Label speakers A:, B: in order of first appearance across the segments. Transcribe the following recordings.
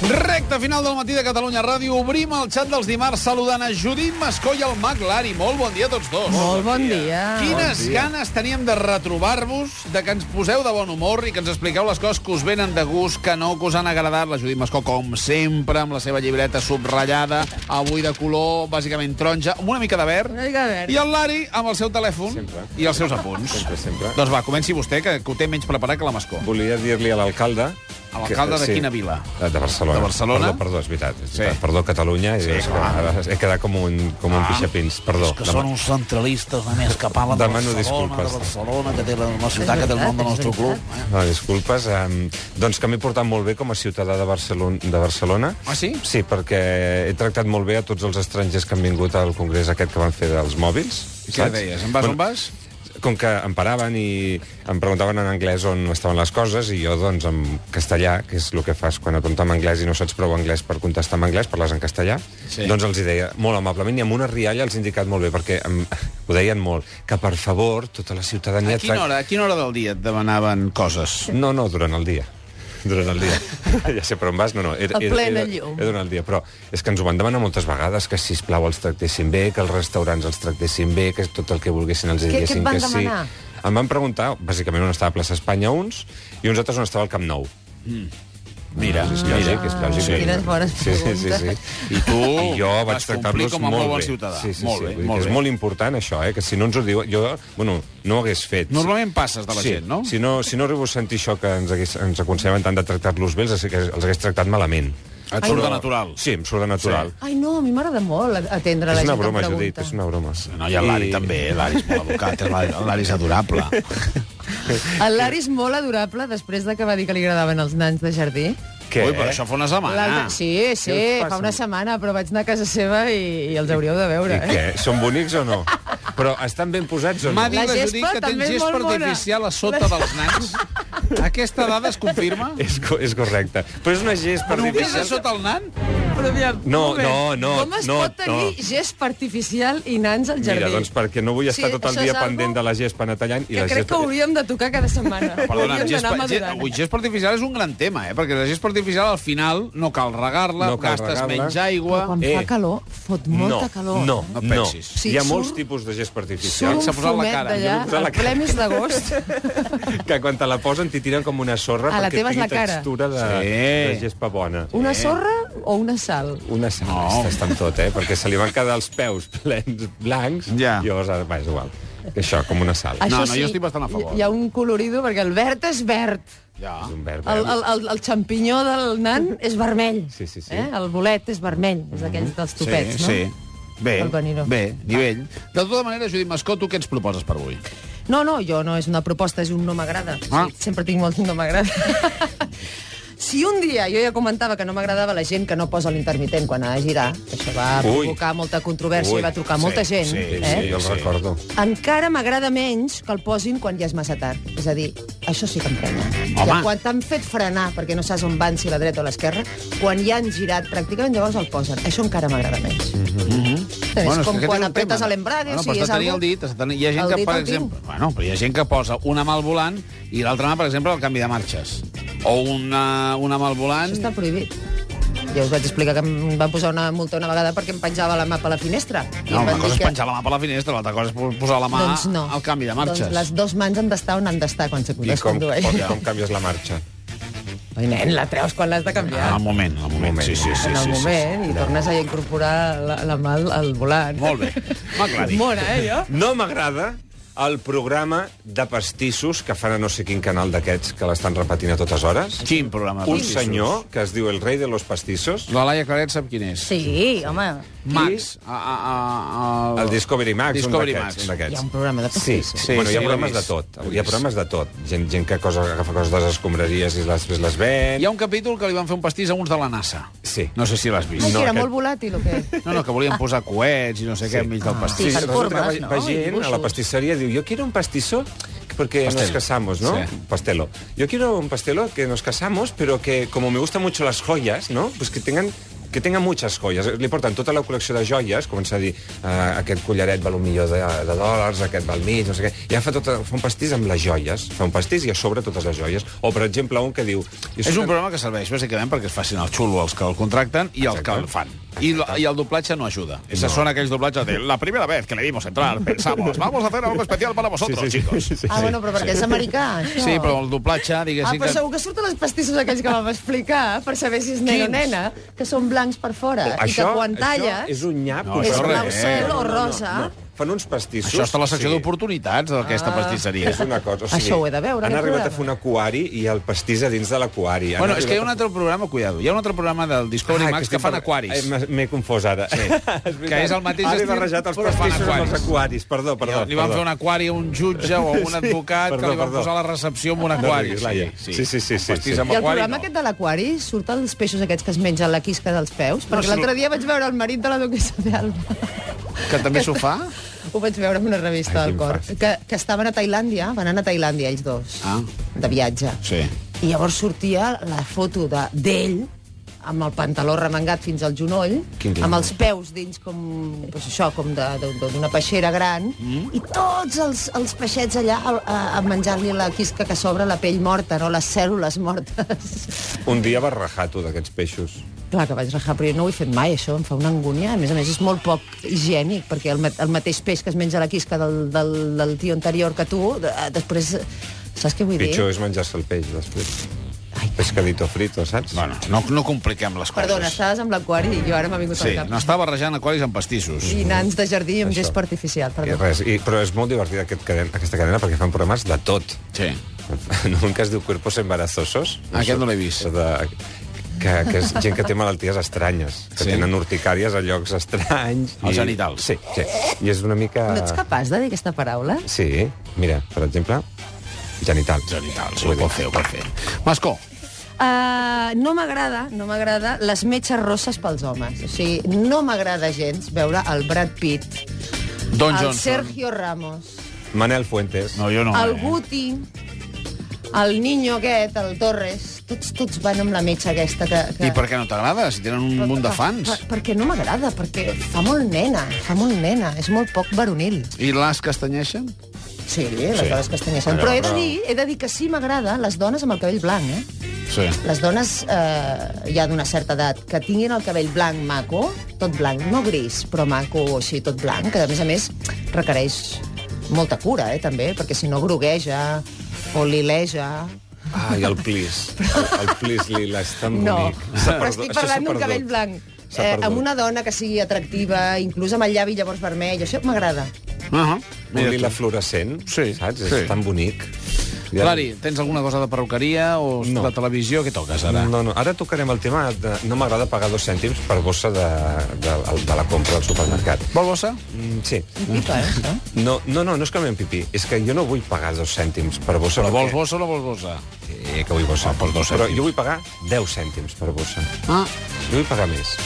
A: Recte final del matí de Catalunya Ràdio. Obrim el xat dels dimarts saludant a Judit Mascó i el Mac Lari. Molt bon dia a tots dos.
B: Molt bon dia.
A: Quines
C: dia.
A: ganes teníem de retrobar-vos, de que ens poseu de bon humor i que ens expliqueu les coses que us venen de gust, que no, que us han agradat. La Judit Mascó, com sempre, amb la seva llibreta subratllada, avui de color, bàsicament taronja, amb una mica de verd.
B: Una mica de verd.
A: I el Lari amb el seu telèfon
C: Sempre.
A: i els seus apunts.
C: Sempre, sempre.
A: Doncs va, comenci vostè, que, que ho té menys preparat que la Mascó.
C: Volia dir-li a l'alcalde...
A: A l'alcalde
C: que-
A: de quina vila?
C: Eh, De Barcelona.
A: De Barcelona?
C: Perdó, perdó és veritat. És
A: Sí.
C: veritat. Perdó, Catalunya.
A: Sí,
C: Sí, és,
A: clar. Ah.
C: que, he quedat com un, com un pixapins. Perdó.
D: És que són uns centralistes, només, que parlen de
C: Demano
D: Barcelona,
C: disculpes.
D: de Barcelona, que té la, una ciutat que té el nom del nostre club. Eh?
C: No, disculpes. Um, doncs que m'he portat molt bé com a ciutadà de Barcelona. De Barcelona.
A: Ah, sí?
C: Sí, perquè he tractat molt bé a tots els estrangers que han vingut al congrés aquest que van fer dels mòbils.
A: I què deies? En vas on vas?
C: Com que em paraven i em preguntaven en anglès on estaven les coses i jo, doncs, en castellà, que és el que fas quan et pregunten en anglès i no saps prou anglès per contestar en anglès, parles en castellà,
A: Sí.
C: sí. doncs els hi deia molt amablement i amb una rialla els he indicat molt bé, perquè em, ho deien molt, que per favor tota la ciutadania...
A: A quina, hora, a quina hora del dia et demanaven coses?
C: No, no, durant el dia. Durant el dia. ja sé per on vas. No, no, he,
B: A plena
C: he, he,
B: llum.
C: he donat el dia, però és que ens ho van demanar moltes vegades, que si plau els tractessin bé, que els restaurants els tractessin bé, que tot el que volguessin els
B: què et
C: diguessin
B: van
C: que sí.
B: demanar?
C: Em van preguntar, bàsicament, on estava Plaça Espanya uns, i uns altres on estava el Camp Nou.
A: Mm. Mira,
C: És lògic, és lògic.
B: Sí. Quines bones
C: sí, sí, sí, sí. I tu I jo
A: Uh, vas
C: vaig
A: complir
C: tractar-los
A: com a molt
C: molt
A: bon
C: bé.
A: ciutadà.
C: Sí, sí,
A: Molt
C: sí,
A: bé,
C: vull dir que
A: molt
C: És
A: bé.
C: molt important, això, eh? que si no ens ho diu... Jo, bueno, no ho hagués fet.
A: Normalment passes de la
C: sí,
A: gent, no?
C: Si no, si no arribo a sentir això que ens, hagués, ens aconsellaven tant de tractar-los bé, els, hagués- els hagués tractat malament.
A: Et surt de natural.
C: Sí, em surt de natural.
B: Ai, no, a mi m'agrada molt atendre
C: És
B: la
C: una
B: gent que em
C: broma, Judit,
B: pregunta.
C: és una broma.
D: No, i el Lari també, eh? l'Ari és molt educat, el Lari- el Lari és adorable.
B: El Lari és molt adorable després de que va dir que li agradaven els nans de jardí.
C: Què?
A: Ui, però això fa una setmana.
B: L'altre- Sí, sí,
C: Què us passa?
B: fa una setmana, però vaig anar a casa seva i, i els hauríeu de
C: I
B: veure.
C: què?
B: Eh?
C: Són bonics o no? Però estan ben posats o no?
A: M'ha dit
B: La
A: la, la Judit
B: gespa
A: que
B: també
A: tens
B: és
A: gespa
B: molt bona.
A: artificial a sota dels nans. Aquesta dada es confirma?
C: És, co és correcte. Però és una gespa
A: Només a
C: artificial...
A: sota el nan?
B: Però aviam,
C: No,
B: un moment,
C: no, no,
B: Com es
C: no,
B: pot tenir
C: no.
B: gespa artificial i nans al jardí?
C: Mira, doncs perquè no vull estar
B: Sí,
C: tot el
B: això
C: dia
B: és algo
C: pendent de la gespa anar tallant... I
B: Que
C: la
B: crec
C: gespa...
B: que hauríem de tocar cada setmana.
A: Perdona,
B: hauríem
A: gespa,
B: d'anar
A: ge-
B: madurant.
A: ui, gespa artificial és un gran tema, eh? Perquè la gespa artificial, al final, no cal regar-la,
C: No cal
A: gastes
C: regar-la.
A: menys aigua...
B: Quan
C: Eh.
B: fa calor, fot molta calor. eh?
C: no,
A: No
C: no, no.
A: pensis.
B: Sí,
C: Hi ha
B: surt-
C: molts tipus de gespa artificial.
B: Surt un
A: s'ha posat la
B: fumet
A: cara,
B: d'allà,
C: jo m'he posat la
B: al ple
C: cara.
B: mes d'agost.
C: que quan te la posen t'hi tiren com una sorra
B: Ah, la
C: perquè
B: teva és
C: tingui
B: la cara.
C: textura de,
A: Sí.
C: de gespa bona.
B: Una sorra o una sal?
C: Una sal,
A: No.
C: no. estan tot, eh? Perquè se li van quedar els peus plens blancs
A: Ja.
C: i llavors ara, va, és igual. Això, com una sal.
A: no, jo estic bastant a favor.
B: hi- Hi ha un colorido, perquè el verd és verd.
A: Ja.
C: És un eh? verd.
B: El, el, el, el xampinyó del nan és vermell.
C: Sí, sí, sí.
B: Eh? El bolet és vermell, és d'aquells dels topets, no?
A: sí. Bé,
B: Pel Panino.
A: bé, nivell. De tota manera, Judit Mascó, tu què ens proposes per avui?
B: No, no, jo no és una proposta, és un no m'agrada.
A: Ah.
B: Ah. Sempre tinc molt no m'agrada. Si un dia, jo ja comentava que no m'agradava la gent que no posa l'intermitent quan ha de girar, que això va
C: Ui.
B: provocar molta controvèrsia
C: Ui.
B: i va trucar sí, molta gent,
C: Sí,
B: eh?
C: sí, jo el recordo.
B: encara m'agrada menys que el posin quan ja és massa tard. És a dir, això sí que em prenya.
A: Home.
B: Ja, quan t'han fet frenar perquè no saps on van, si la dreta o l'esquerra, quan ja han girat pràcticament, llavors el posen. Això encara m'agrada menys. Mm -hmm. És
A: Mm-hmm. Bueno,
B: bueno,
A: és que
B: com
A: aquest
B: quan
A: és un
B: apretes
A: tema.
B: l'embrague,
A: Bueno,
B: si
A: però has
B: és
A: de tenir
B: algo...
A: el dit, has de tenir... Hi ha gent
B: El
A: que,
B: dit
A: per
B: el tinc.
A: exemple... Bueno, però hi ha gent que posa una mà al volant i l'altra mà, per exemple, al canvi de marxes. O una, una mà al volant...
B: Això està prohibit. Jo us vaig explicar que em van posar una multa una vegada perquè em penjava la mà per la finestra. I
A: No,
B: em
A: una
B: van
A: cosa
B: dir
A: és
B: que...
A: penjar la mà per la finestra, l'altra cosa és posar la mà
B: Doncs no.
A: al canvi de marxes.
B: Doncs les dues mans han d'estar on han d'estar quan se
C: I com,
B: condueix.
C: com, com canvies la marxa?
B: Ai, nen, la treus quan l'has de canviar.
A: En el moment, en el moment, sí, sí, sí.
B: en el
A: sí,
B: moment i tornes a incorporar la, la mà al, al volant.
A: Sí. Molt bé, m'aclari.
B: Mona, eh, jo?
C: No m'agrada el programa de pastissos que fan a no sé quin canal d'aquests que l'estan repetint a totes hores.
A: Quin programa? de
C: Un
A: pastissos?
C: senyor que es diu el rei de los pastissos,
A: La Laia Claret sap quin és.
E: Sí, home.
A: Max. A, a, a, a...
C: el Discovery Max,
A: Discovery
C: un d'aquests.
A: Max.
C: un d'aquests.
B: Hi ha un programa de
C: Sí,
B: pastissos.
C: sí, bueno,
A: sí,
C: hi ha
A: l'he
C: programes de
A: vist.
C: tot.
A: L'he
C: Hi ha
A: vist.
C: programes de tot. Gent, gent que cosa, agafa coses de les escombraries i les, les ven...
A: Hi ha un capítol que li van fer un pastís a uns de la NASA.
C: Sí.
A: No sé si l'has vist.
B: Ai,
C: No,
B: que era
C: aquest-
B: molt volàtil, o què?
A: No, no, que volien posar coets i no sé què enmig
B: Ah,
A: del pastís.
E: Sí, per
C: resulta
E: formes,
C: que va,
E: no?
C: va
E: I
C: gent a la
E: dibuixos.
C: pastisseria i diu jo quiero un pastisso porque
A: Pastel.
C: nos casamos, ¿no?
A: Sí.
C: Pastelo. Yo quiero un pastelo que nos casamos, pero que como me gustan mucho las joyas, ¿no? Pues que tengan que tenga muchas joies. Li porten tota la col·lecció de joies, comença a dir eh, aquest collaret val un milió de, de dòlars, aquest val mig, no sé què. Ja fa, tot, fa un pastís amb les joies, fa un pastís i a sobre totes les joies. O, per exemple, un que diu... jo
A: És
C: soc
A: un programa que serveix bàsicament perquè es facin el xulo els que el contracten i els que el fan. I, la- I el doblatge no ajuda. No. Són aquells doblatges de la primera vez que le vimos entrar, pensamos, vamos a hacer algo especial para vosotros, sí, sí, chicos. Sí, sí.
B: Ah, bueno, però perquè és americà, això.
A: sí, però el doblatge,
B: Ah,
A: diguéssim...
B: però
A: que-
B: segur que surten els pastissos aquells que vam explicar per saber si és nen o
A: Quins?
B: nena, que són blancs per fora i que quan talles
C: Això és un nyap.
A: No,
B: és
A: això
B: blau
A: res.
B: cel o rosa.
C: No, no. Fan uns pastissos...
A: Això està a la secció d'oportunitats
B: Ah.
A: d'aquesta pastisseria.
C: És una cosa, o sigui,
B: Això ho he de veure,
C: Han
B: aquest
C: arribat
B: programa.
C: a fer un aquari i el pastís a dins de l'aquari. Han
A: Bueno, és que hi ha un
C: arribat
A: altre programa, cuidado, hi ha un altre programa del Discovery ah, Max que,
C: estic
A: fan
C: par- Eh,
A: aquaris.
C: m'he- M'he confós ara. Sí.
A: Que és el mateix
C: Ara he
A: estil,
C: barrejat els
A: però fan
C: pastissos amb els
A: aquaris.
C: aquaris. Perdó, perdó.
A: li van
C: perdó.
A: fer un aquari a un jutge o a un advocat
C: perdó,
A: que li van
C: perdó.
A: posar la recepció amb un
C: No
A: aquari.
C: riguis, Laia. Sí, sí, sí,
A: Un
C: sí,
A: pastís
C: sí.
A: amb
B: I el
A: aquari,
B: programa
A: no.
B: aquest de l'aquari surten els peixos aquests que es mengen la quisca dels peus? Perquè
A: surt.
B: l'altre dia vaig veure el marit de la duquesa d'Alba.
A: Que també s'ho fa?
B: Ho vaig veure en una revista
C: Ai,
B: del
C: quin
B: cor.
C: fàstic.
B: Que, que estaven a Tailàndia, van anar a Tailàndia ells dos,
A: Ah.
B: de viatge.
A: Sí.
B: I llavors sortia la foto de- d'ell amb el pantaló remengat fins al genoll,
C: Quin lindo.
B: amb els peus dins com, doncs això, com de- de- de- d'una peixera gran, mm. i tots els, els peixets allà a, a, a menjar-li la quisca que s'obre la pell morta, no les cèl·lules mortes.
C: Un dia vas rajar tu d'aquests peixos.
B: Clar que vaig rajar, però jo no ho he fet mai, això em fa una angúnia. A més a més, és molt poc higiènic, perquè el, ma- el mateix peix que es menja la quisca del, del, del tio anterior que tu, de- eh, després... Saps què vull dir?
C: Pitjor és menjar-se el peix després.
B: Ai,
C: Pescadito frito, saps?
A: Bueno, no, no compliquem les coses.
B: Perdona, estaves amb l'aquari i jo ara m'ha vingut
A: Sí,
B: al cap.
A: no està barrejant aquaris amb pastissos.
B: I nans de jardí amb
C: Això.
B: gespa artificial,
C: I
B: perdó.
C: res, i, però és molt divertida aquest cadena, aquesta cadena perquè fan programes de tot.
A: Sí.
C: No, un que es diu Cuerpos Embarazosos.
A: Ah, Aquest no l'he vist.
C: De, que, que és gent que té malalties estranyes, que
A: Sí.
C: sí. tenen urticàries a llocs estranys.
A: Als genitals.
C: Sí, sí. I és una mica...
B: No ets capaç de dir aquesta paraula?
C: Sí, mira, per exemple, genital.
A: Genital, sí, ho
C: Vull dir,
A: pot fer, ho pot fer. Mascó,
B: Uh, no m'agrada, no m'agrada les metges rosses pels homes. O sigui, no m'agrada gens veure el Brad Pitt,
A: Don
B: el
A: Johnson.
B: Sergio Ramos,
C: Manel Fuentes.
A: No, jo no.
B: el
A: eh?
B: Guti, el niño aquest, el Torres, tots, tots van amb la metge aquesta que... que...
A: I per què no t'agrada? Si tenen un munt de fans.
B: Per, perquè no m'agrada, perquè fa molt nena, fa molt nena, és molt poc varonil.
A: I les castanyeixen?
B: Sí, les
A: Sí.
B: sí. dones castanyeixen.
C: Allò,
B: Però he de
C: però-
B: dir, he de dir que sí m'agrada les dones amb el cabell blanc, eh?
A: Sí.
B: Les dones eh, ja d'una certa edat que tinguin el cabell blanc maco, tot blanc, no gris, però maco o així, tot blanc, que a més a més requereix molta cura, eh, també, perquè si no grogueja o lileja...
C: Ai, el plis. El, el plis lila és tan
B: No,
C: bonic. S'ha
B: però
C: perdut,
B: estic
C: això
B: parlant
C: s'ha
B: d'un
C: perdut.
B: cabell blanc.
C: S'ha
B: Eh,
C: perdut.
B: amb una dona que sigui atractiva, inclús amb el llavi llavors vermell, això m'agrada.
A: Uh -huh.
C: Un lila fluorescent,
A: Sí,
C: saps?
A: sí.
C: És tan bonic. Ja-
A: Lari, tens alguna cosa de perruqueria o no.
C: No.
A: la televisió? Què toques ara?
C: No, no. Ara tocarem el tema de... No m'agrada pagar dos cèntims per bossa de, de, de la compra al supermercat.
A: Vol bossa?
C: Mm, sí.
B: Em pica, eh, això.
C: No, no, no, no és que m'empipí. És que jo no vull pagar dos cèntims per bossa.
A: Però vols
C: perquè-
A: bossa o no vols bossa?
C: Sí, que vull bossa.
A: Ah, doncs dos
C: Però
A: cèntims.
C: jo vull pagar 10 cèntims per bossa.
A: Ah,
C: Jo vull pagar més.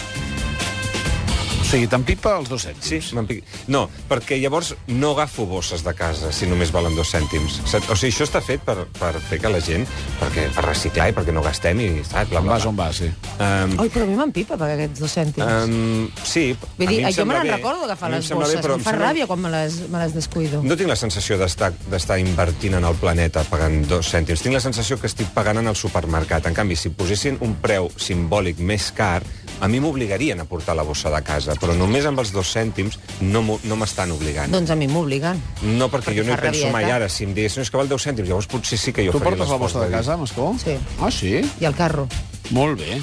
A: o sigui, t'empipa els dos cèntims.
C: Sí, m'empiqui... No, perquè llavors no agafo bosses de casa si només valen dos cèntims. Saps? O sigui, això està fet per, per fer que la gent... Perquè, per reciclar i perquè no gastem i... Saps? Bla,
A: On
C: bla,
A: vas, on
C: bla.
A: vas, sí.
C: Um,
B: Oi, però a mi m'empipa pagar aquests dos cèntims.
C: um, sí,
B: Vull dir,
C: a mi em
B: jo me
C: sembla
B: n'en
C: bé.
B: recordo d'agafar
C: A mi em
B: les
C: sembla
B: bosses.
C: Bé, però
B: em fa
C: sembla-
B: ràbia quan me les, me les descuido.
C: No tinc la sensació d'estar d'estar invertint en el planeta pagant dos cèntims. Tinc la sensació que estic pagant en el supermercat. En canvi, si posessin un preu simbòlic més car, a mi m'obligarien a portar la bossa de casa, però només amb els dos cèntims no m'ho- no m'estan obligant.
B: Doncs a mi m'obliguen.
C: No, perquè, jo no hi
B: fa
C: penso mai
B: rabieta.
C: ara. Si em diguessin "No, és que val 10 cèntims, llavors potser sí que jo
A: Tu
C: faria
A: portes la
C: l'esforç
A: bossa de
C: dir,
A: casa, Mascó?
B: Sí.
A: Ah, sí?
B: I el carro.
A: Molt bé.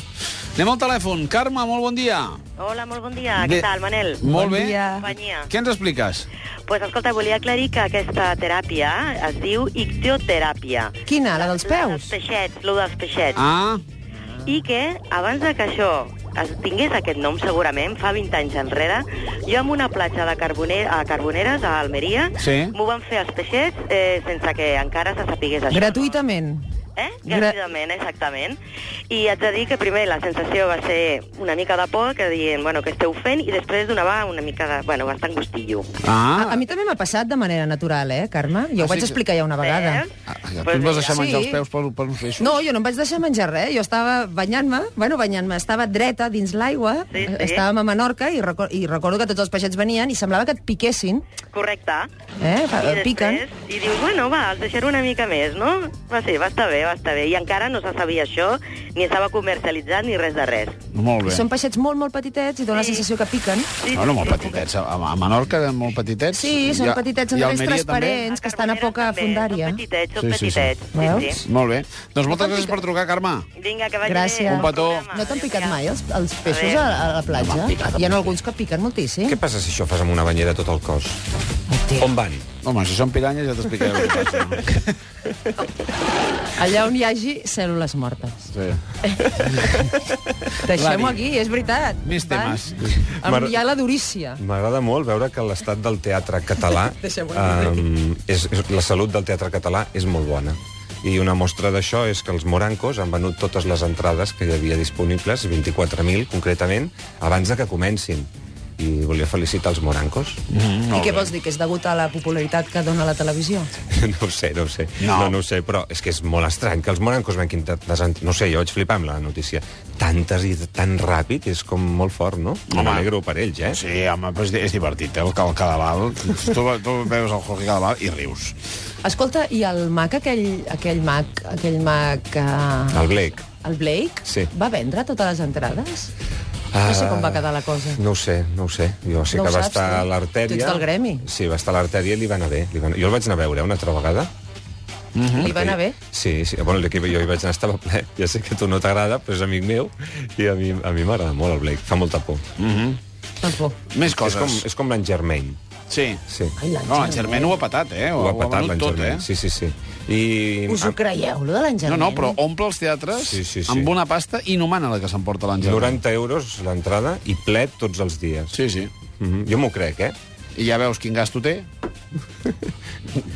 A: Anem al telèfon. Carme, molt bon dia.
E: Hola, molt bon dia.
A: Bé.
E: Què tal, Manel?
A: Molt
B: Bon
A: bé.
B: dia.
E: Companyia.
A: Què ens expliques?
E: Pues escolta, volia aclarir que aquesta teràpia es diu ictioteràpia.
B: Quina? La dels
E: La dels
B: peus?
E: peixets, lo dels peixets.
A: Ah,
E: I que, abans de que això es tingués aquest nom, segurament, fa 20 anys enrere, jo en una platja de Carboner, a Carboneres, a Almeria,
A: Sí.
E: m'ho van fer els peixets eh, sense que encara se sapigués això.
B: Gratuïtament.
E: Eh?
B: Gra-
E: Gràcidament, exactament. I haig de dir que primer la sensació va ser una mica de por, que dient, bueno, què esteu fent? I després donava una mica de, bueno, bastant gustillo.
B: Ah. A,
A: Ah,
B: a mi també m'ha passat de manera natural, eh, Carme? Jo
A: Ah,
B: ho vaig
A: sí?
B: explicar ja una vegada.
E: Eh?
A: ah tu et vas deixar
B: Sí.
A: menjar els peus per, per uns peixos.
B: No, jo no em vaig deixar menjar res. Jo estava banyant-me, bueno, banyant-me, estava dreta dins l'aigua,
E: Sí, sí.
B: estàvem a Menorca i, reco i recordo que tots els peixets venien i semblava que et piquessin,
E: Correcte.
B: eh? Fa,
E: I
B: piquen.
E: després, i dius, bueno, va, els deixaré una mica més, no? Va ser, va estar bé, va estar bé. I encara no se sabia això, ni estava comercialitzat ni res de res.
A: Molt
B: I
A: bé.
B: són peixets molt, molt petitets i dona
E: Sí.
B: la sensació que piquen.
E: Sí,
A: No, no,
E: sí,
A: molt
E: sí.
A: petitets. A, a Menorca, molt petitets.
B: Sí, són
A: I a-
B: petitets,
A: i
B: són
A: a
B: d'aquells
A: Almeria també.
B: transparents que estan a
E: Carboneres
B: poca
E: també,
B: fondària.
E: Són petitets, són
A: Sí, sí, sí.
E: petitets. Sí, sí,
B: Veus?
A: Molt bé. Doncs moltes gràcies per trucar, Carme.
E: Vinga, que vagi
B: Gràcies.
E: bé.
B: Un
A: petó.
B: No t'han picat mai eh? els, els
E: A
B: peixos a,
E: veure.
B: a la platja? Hi ha alguns que piquen moltíssim.
C: Què passa si això fas amb una banyera tot el cos?
B: Hòstia.
C: On van?
A: Home, si són piranyes ja t'explicaré el que passa.
B: Allà on hi hagi cèl·lules mortes.
A: Sí.
B: Deixem-ho
A: Lari.
B: aquí, és veritat.
A: Més temes.
B: Amb, hi ha la durícia.
C: M'agrada molt veure que l'estat del teatre català...
B: Deixem-ho
C: um, és, és, la salut del teatre català és molt bona. I una mostra d'això és que els morancos han venut totes les entrades que hi havia disponibles, 24.000 concretament, abans de que comencin. I volia felicitar els morancos.
D: Mm.
A: Mm,
B: I què vols dir? Que és degut a la popularitat que dona la televisió?
C: No ho sé, no ho sé. No. no, no ho sé, però és que és molt estrany que els morancos venguin... tan- tan- No ho sé, jo vaig flipar amb la notícia. Tantes i tan ràpid, és com molt fort, no?
D: Home.
C: M'alegro per ells, eh?
D: Sí, home, però és, és divertit, eh? El, el Cadaval... Tu, tu veus el Jorge Cadaval i rius.
B: Escolta, i el mac, aquell, aquell mac, aquell mac...
C: El
B: Uh,
C: Blake.
B: el Blake?
C: Sí. Ah.
B: Va vendre totes les entrades? No sé com va quedar la cosa.
C: No ho sé, no ho sé. Jo sé
B: No
C: que
B: ho
C: va
B: saps, tu.
C: estar a l'Artèria...
B: Tu ets del gremi.
C: Sí, va estar a l'Artèria i li va anar bé. Li va anar... Jo el vaig anar a veure una altra vegada. Mhm.
B: Li va anar bé?
C: Sí, sí. Bueno, l'equip jo hi vaig anar estava ple. Ja sé que a tu no t'agrada, però és amic meu. I a mi a mi m'agrada molt el Blake. Fa molta por.
B: Doncs bo.
A: Més
C: És
A: coses.
C: com, és com l'en Germain.
A: Sí.
C: Sí.
B: Ai, l'Àngel.
A: No, en Germain ho ha patat, eh?
C: Ho ha patat
A: venut
C: l'en
A: tot, eh?
C: Germain. Sí, sí, sí. I...
B: Us ho creieu, lo de l'Àngel?
A: No, no, però omple els teatres
C: Sí, sí, sí.
A: amb una pasta inhumana la que s'emporta l'Àngel.
C: 90 euros l'entrada i ple tots els dies.
A: Sí, sí.
C: Mhm. Jo m'ho crec, eh?
A: I ja veus quin gasto té.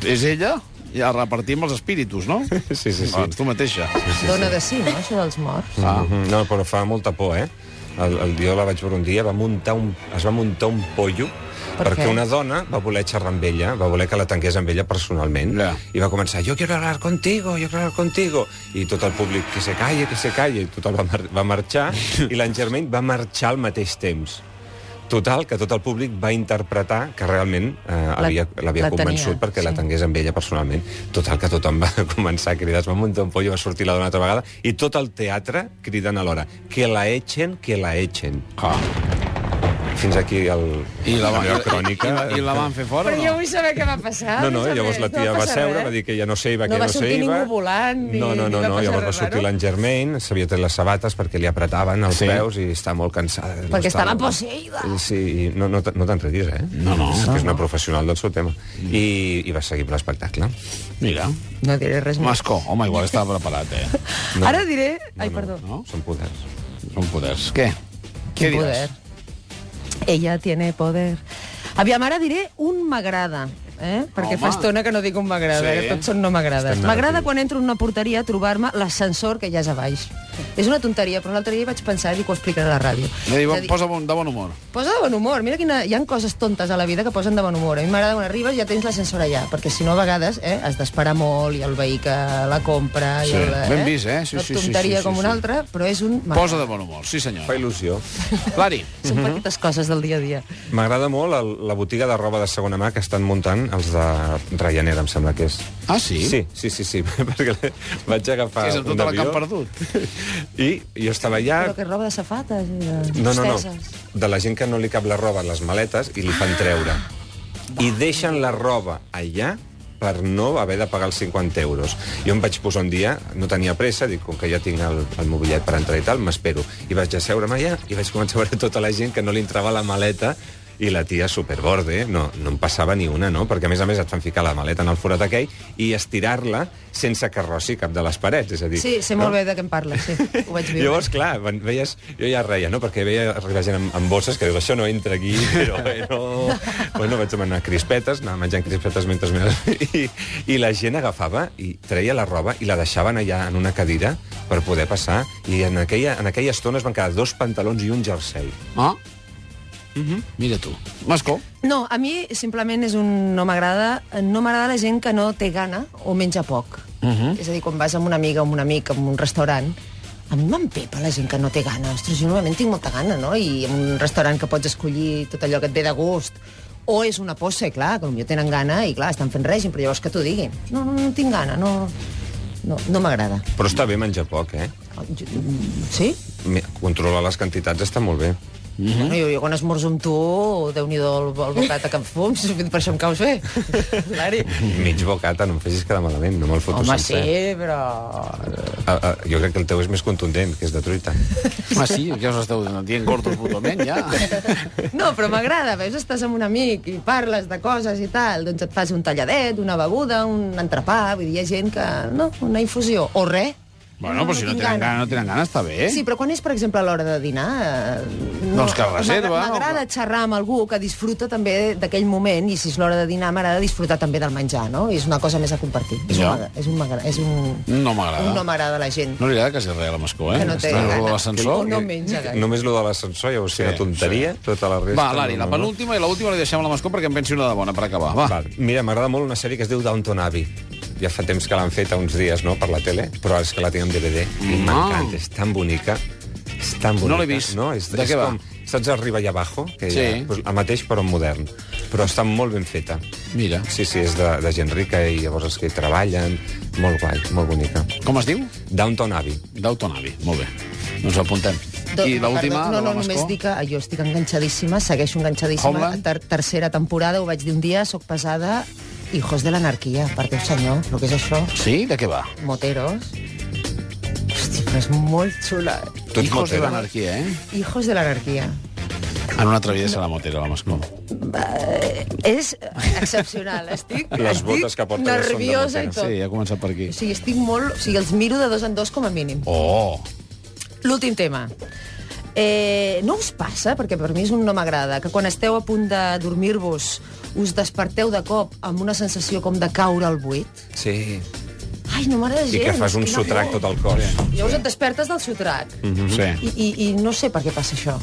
A: és ella? Ja repartim els espíritus, no?
C: Sí, sí, sí.
A: Doncs tu mateixa.
B: Dona de sí, no, això dels morts?
A: Ah.
C: Mhm. No, però fa molta por, eh? El, el dia la vaig veure un dia, va muntar un, es va muntar un pollo
B: Per
C: perquè
B: què?
C: una dona va voler xerrar amb ella, va voler que la tanqués amb ella personalment,
A: Ja.
C: i va començar, jo quiero hablar contigo, jo quiero hablar contigo, i tot el públic, que se calle, que se calle, i tothom va, mar va marxar, i l'en Germain va marxar al mateix temps. Total, que tot el públic va interpretar que realment eh, havia- l'havia
B: la tenia,
C: convençut perquè la
B: sí.
C: tangués amb ella personalment. Total, que tothom va començar a cridar, es va muntar un pollo, va sortir la dona altra vegada, i tot el teatre cridant alhora, que la echen, que la echen.
A: Ah.
C: Fins aquí el,
A: I la,
C: la
A: van,
C: meva crònica.
A: i, i la van fer fora,
B: Però jo
A: no?
B: vull saber què va passar.
C: No,
B: vull
C: no,
B: saber-
C: llavors la tia
B: Ah, no
C: va
B: passar
C: seure,
B: res.
C: va dir que ja no sé, hi va,
B: No
C: que
B: va
C: no sé,
B: sortir
C: hi va...
B: ningú volant, ni-
C: no, no,
B: ni
C: no,
B: va
C: no,
B: passar
C: llavors va
B: res
C: sortir
B: raro.
C: l'en Germain, s'havia tret les sabates perquè li apretaven els
A: Sí.
C: sí. peus i està molt cansada. No
B: Perquè estava posseïda.
C: Sí, i no, no, te- no t'enredis, eh?
A: No, no.
C: És que és una professional del seu tema. I, i va seguir amb l'espectacle.
A: Mira.
B: No diré res més.
A: Mascó. Home, igual estava preparat, eh?
C: No.
B: Ara diré... Ai, perdó.
A: No?
C: Són poders.
A: Són poders. Què? Què
B: Quin
A: diràs?
B: poder. Ella tiene poder. Aviam, ara diré un m'agrada. Eh? Perquè
A: Home.
B: fa estona que no dic un m'agrada,
A: Sí.
B: sí. tots són no m'agrada.
C: Estem
B: M'agrada
C: negatius.
B: quan entro en una porteria a trobar-me l'ascensor que ja és a baix. És una tonteria, però l'altre dia vaig pensar i dic, ho explicaré a la ràdio.
A: Ja diu,
B: És a dir,
A: posa bon, de bon humor.
B: Posa de bon humor. Mira quina... Hi han coses tontes a la vida que posen de bon humor. A mi m'agrada quan arribes i ja tens l'ascensor allà, perquè si no a vegades eh, has d'esperar molt i el veí que la compra...
A: Sí,
B: I el,
A: ben vist, eh? Sí,
B: no et
A: sí, sí,
B: tonteria
A: sí, sí,
B: com
A: sí.
B: un altre, però és un...
A: Posa de bon humor, sí senyor.
C: Fa il·lusió.
A: Lari.
B: Són petites coses del dia a dia.
C: M'agrada molt el, la botiga de roba de segona mà que estan muntant els de Ryanair, em sembla que és.
A: Ah, sí?
C: Sí, sí, sí, sí perquè vaig agafar
A: Sí, és amb
C: un
A: tota la que
C: avió
A: han perdut.
C: i jo estava allà...
B: Però que roba de safates i de...
C: No, no, no,
B: esteses.
C: de la gent que no li cap la roba a les maletes i li fan treure. I deixen la roba allà per no haver de pagar els 50 euros. Jo em vaig posar un dia, no tenia pressa, dic, com que ja tinc el, el mobiliat per entrar i tal, m'espero. I vaig asseure'm allà i vaig començar a veure tota la gent que no li entrava la maleta i la tia superborde, eh? no, no en passava ni una, no? Perquè, a més a més, et fan ficar la maleta en el forat aquell i estirar-la sense que rossi cap de les parets, és a dir...
B: Sí, sé molt bé de què em parles, sí. Ho vaig viure.
C: Llavors, clar, quan veies, jo ja reia, no? Perquè veia arribar gent amb, amb bosses que dius, això no entra aquí, però bueno... bueno, vaig demanar crispetes, anava menjant crispetes mentre... I, I la gent agafava i treia la roba i la deixaven allà en una cadira per poder passar, i en aquella, en aquella estona es van quedar dos pantalons i un jersei.
A: Ah? Mm -hmm. Mira tu. Mascó.
B: No, a mi simplement és un... no m'agrada... No m'agrada la gent que no té gana o menja poc. Uh
C: Mhm.
B: -huh. És a dir, quan vas amb una amiga, amb un amic, amb un restaurant, a mi m'empepa la gent que no té gana. Ostres, jo normalment tinc molta gana, no? I en un restaurant que pots escollir tot allò que et ve de gust. O és una posse, clar, com jo tenen gana i, clar, estan fent règim, però llavors que t'ho diguin. No, no, no tinc gana, no... No, no m'agrada.
C: Però està bé menjar poc, eh?
B: Jo- mm, Sí?
C: Mi- Controlar les quantitats està molt bé.
B: Mm
A: Mhm.
B: -hmm. bueno, jo, jo quan esmorzo amb tu, déu-n'hi-do el, el bocata que em fums, per això em caus bé. Hilari.
C: Mig bocata, no em facis quedar malament, no me'l foto
B: Home, sí,
C: sencer.
B: però...
C: Ah, ah, jo crec que el teu és més contundent, que és de truita.
A: Ah, sí, ja us esteu dient gordos brutalment, ja.
B: No, però m'agrada, veus, estàs amb un amic i parles de coses i tal, doncs et fas un talladet, una beguda, un entrepà, vull dir, hi ha gent que... No, una infusió, o res.
A: Bueno, però si no
B: tinc
A: tenen gana, no tenen gana, està bé.
B: Sí, però quan és, per exemple, a l'hora de dinar... eh,
A: Doncs que reserva,
B: m'agra-
A: Eh? no?
B: M'agrada xerrar amb algú que disfruta també d'aquell moment, i si és l'hora de dinar m'agrada disfrutar també del menjar, no? I és una cosa més a compartir. És,
A: Ja.
B: un, m'agra- és, un, m'agra- és un...
A: No m'agrada.
B: un no m'agrada la gent.
A: No li agrada quasi res a la Mascó, eh?
B: Que no té
A: Està
B: gana.
A: a
B: O
A: l'ascensor.
B: no menja gaire.
C: Només lo de l'ascensor ja ho sé, sí, una tonteria, sí. tota la resta...
A: Va, Lari, la penúltima i l'última li deixem a la Mascó perquè em pensi una de bona per acabar. Va.
C: Val. Mira, m'agrada molt una sèrie que es diu Downton Abbey. Ja fa temps que l'han fet a uns dies, no?, per la tele, però és que la tinc en DVD. I
A: No.
C: m'encanta, és tan bonica. És tan bonica.
A: Mm. No l'he vist.
C: No, és,
A: De
C: és
A: què va?
C: com, Saps Arriba i Abajo? Que
A: Sí.
C: sí. Ha, doncs, el mateix, però en modern. Però està molt ben feta.
A: Mira.
C: Sí, sí, és de, de gent rica i llavors els que hi treballen. Molt guai, molt bonica.
A: Com es diu?
C: Downton Abbey.
A: D'autonavi. Molt bé. Doncs apuntem.
B: Do-
A: I l'última, de
B: perdó, No,
A: la
B: no,
A: Mascó?
B: només dic que jo estic enganxadíssima, segueixo enganxadíssima.
A: Homeland?
B: Ter tercera temporada, ho vaig dir un dia, sóc pesada. Hijos de l'anarquia, per Déu senyor, el que és això.
A: Sí? De què va?
B: Moteros. Hosti, però és molt xula. eh?
C: Tu ets
A: Hijos de
C: motero.
A: l'anarquia, eh?
B: Hijos de l'anarquia.
A: En una altra vida serà motera, la Mascó.
B: És excepcional, estic,
C: Les botes que
B: estic
C: porta ja són de
B: nerviosa i
C: motero.
B: tot.
A: Sí, ja ha començat per aquí.
B: O sigui, estic molt... O sigui, els miro de dos en dos com a mínim.
A: Oh!
B: L'últim tema. Eh, no us passa, perquè per mi és un no m'agrada, que quan esteu a punt de dormir-vos us desperteu de cop amb una sensació com de caure al buit?
C: Sí.
B: Ai, no m'agrada
C: I
B: gens.
C: que fas un
B: quina
C: sotrac
B: por.
C: tot el Mhm. cos.
B: Llavors et despertes del sotrac. Mm.
A: Sí.
B: I, i, I no sé per què passa això.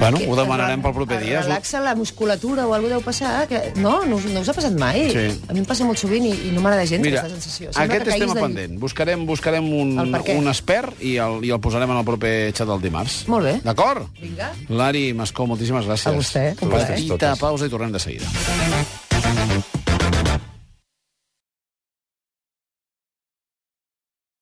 A: Bueno,
B: Que
A: ho demanarem
B: es
A: pel proper
B: es
A: dia.
B: Relaxa la musculatura o alguna cosa deu passar. Que... No, no, us- no us ha passat mai.
A: Sí.
B: A mi em passa molt sovint i, i no m'agrada gens
A: Mira,
B: aquesta sensació.
A: aquest
B: que
A: és
B: caiguis
A: tema
B: del llit.
A: pendent. Buscarem, buscarem un,
B: El per què.
A: un expert i el, i el posarem en el proper xat del dimarts.
B: Molt bé.
A: D'acord?
B: Vinga.
A: Lari Mascó, moltíssimes gràcies.
B: A vostè, un plaer.
A: Petita pausa i tornem de seguida.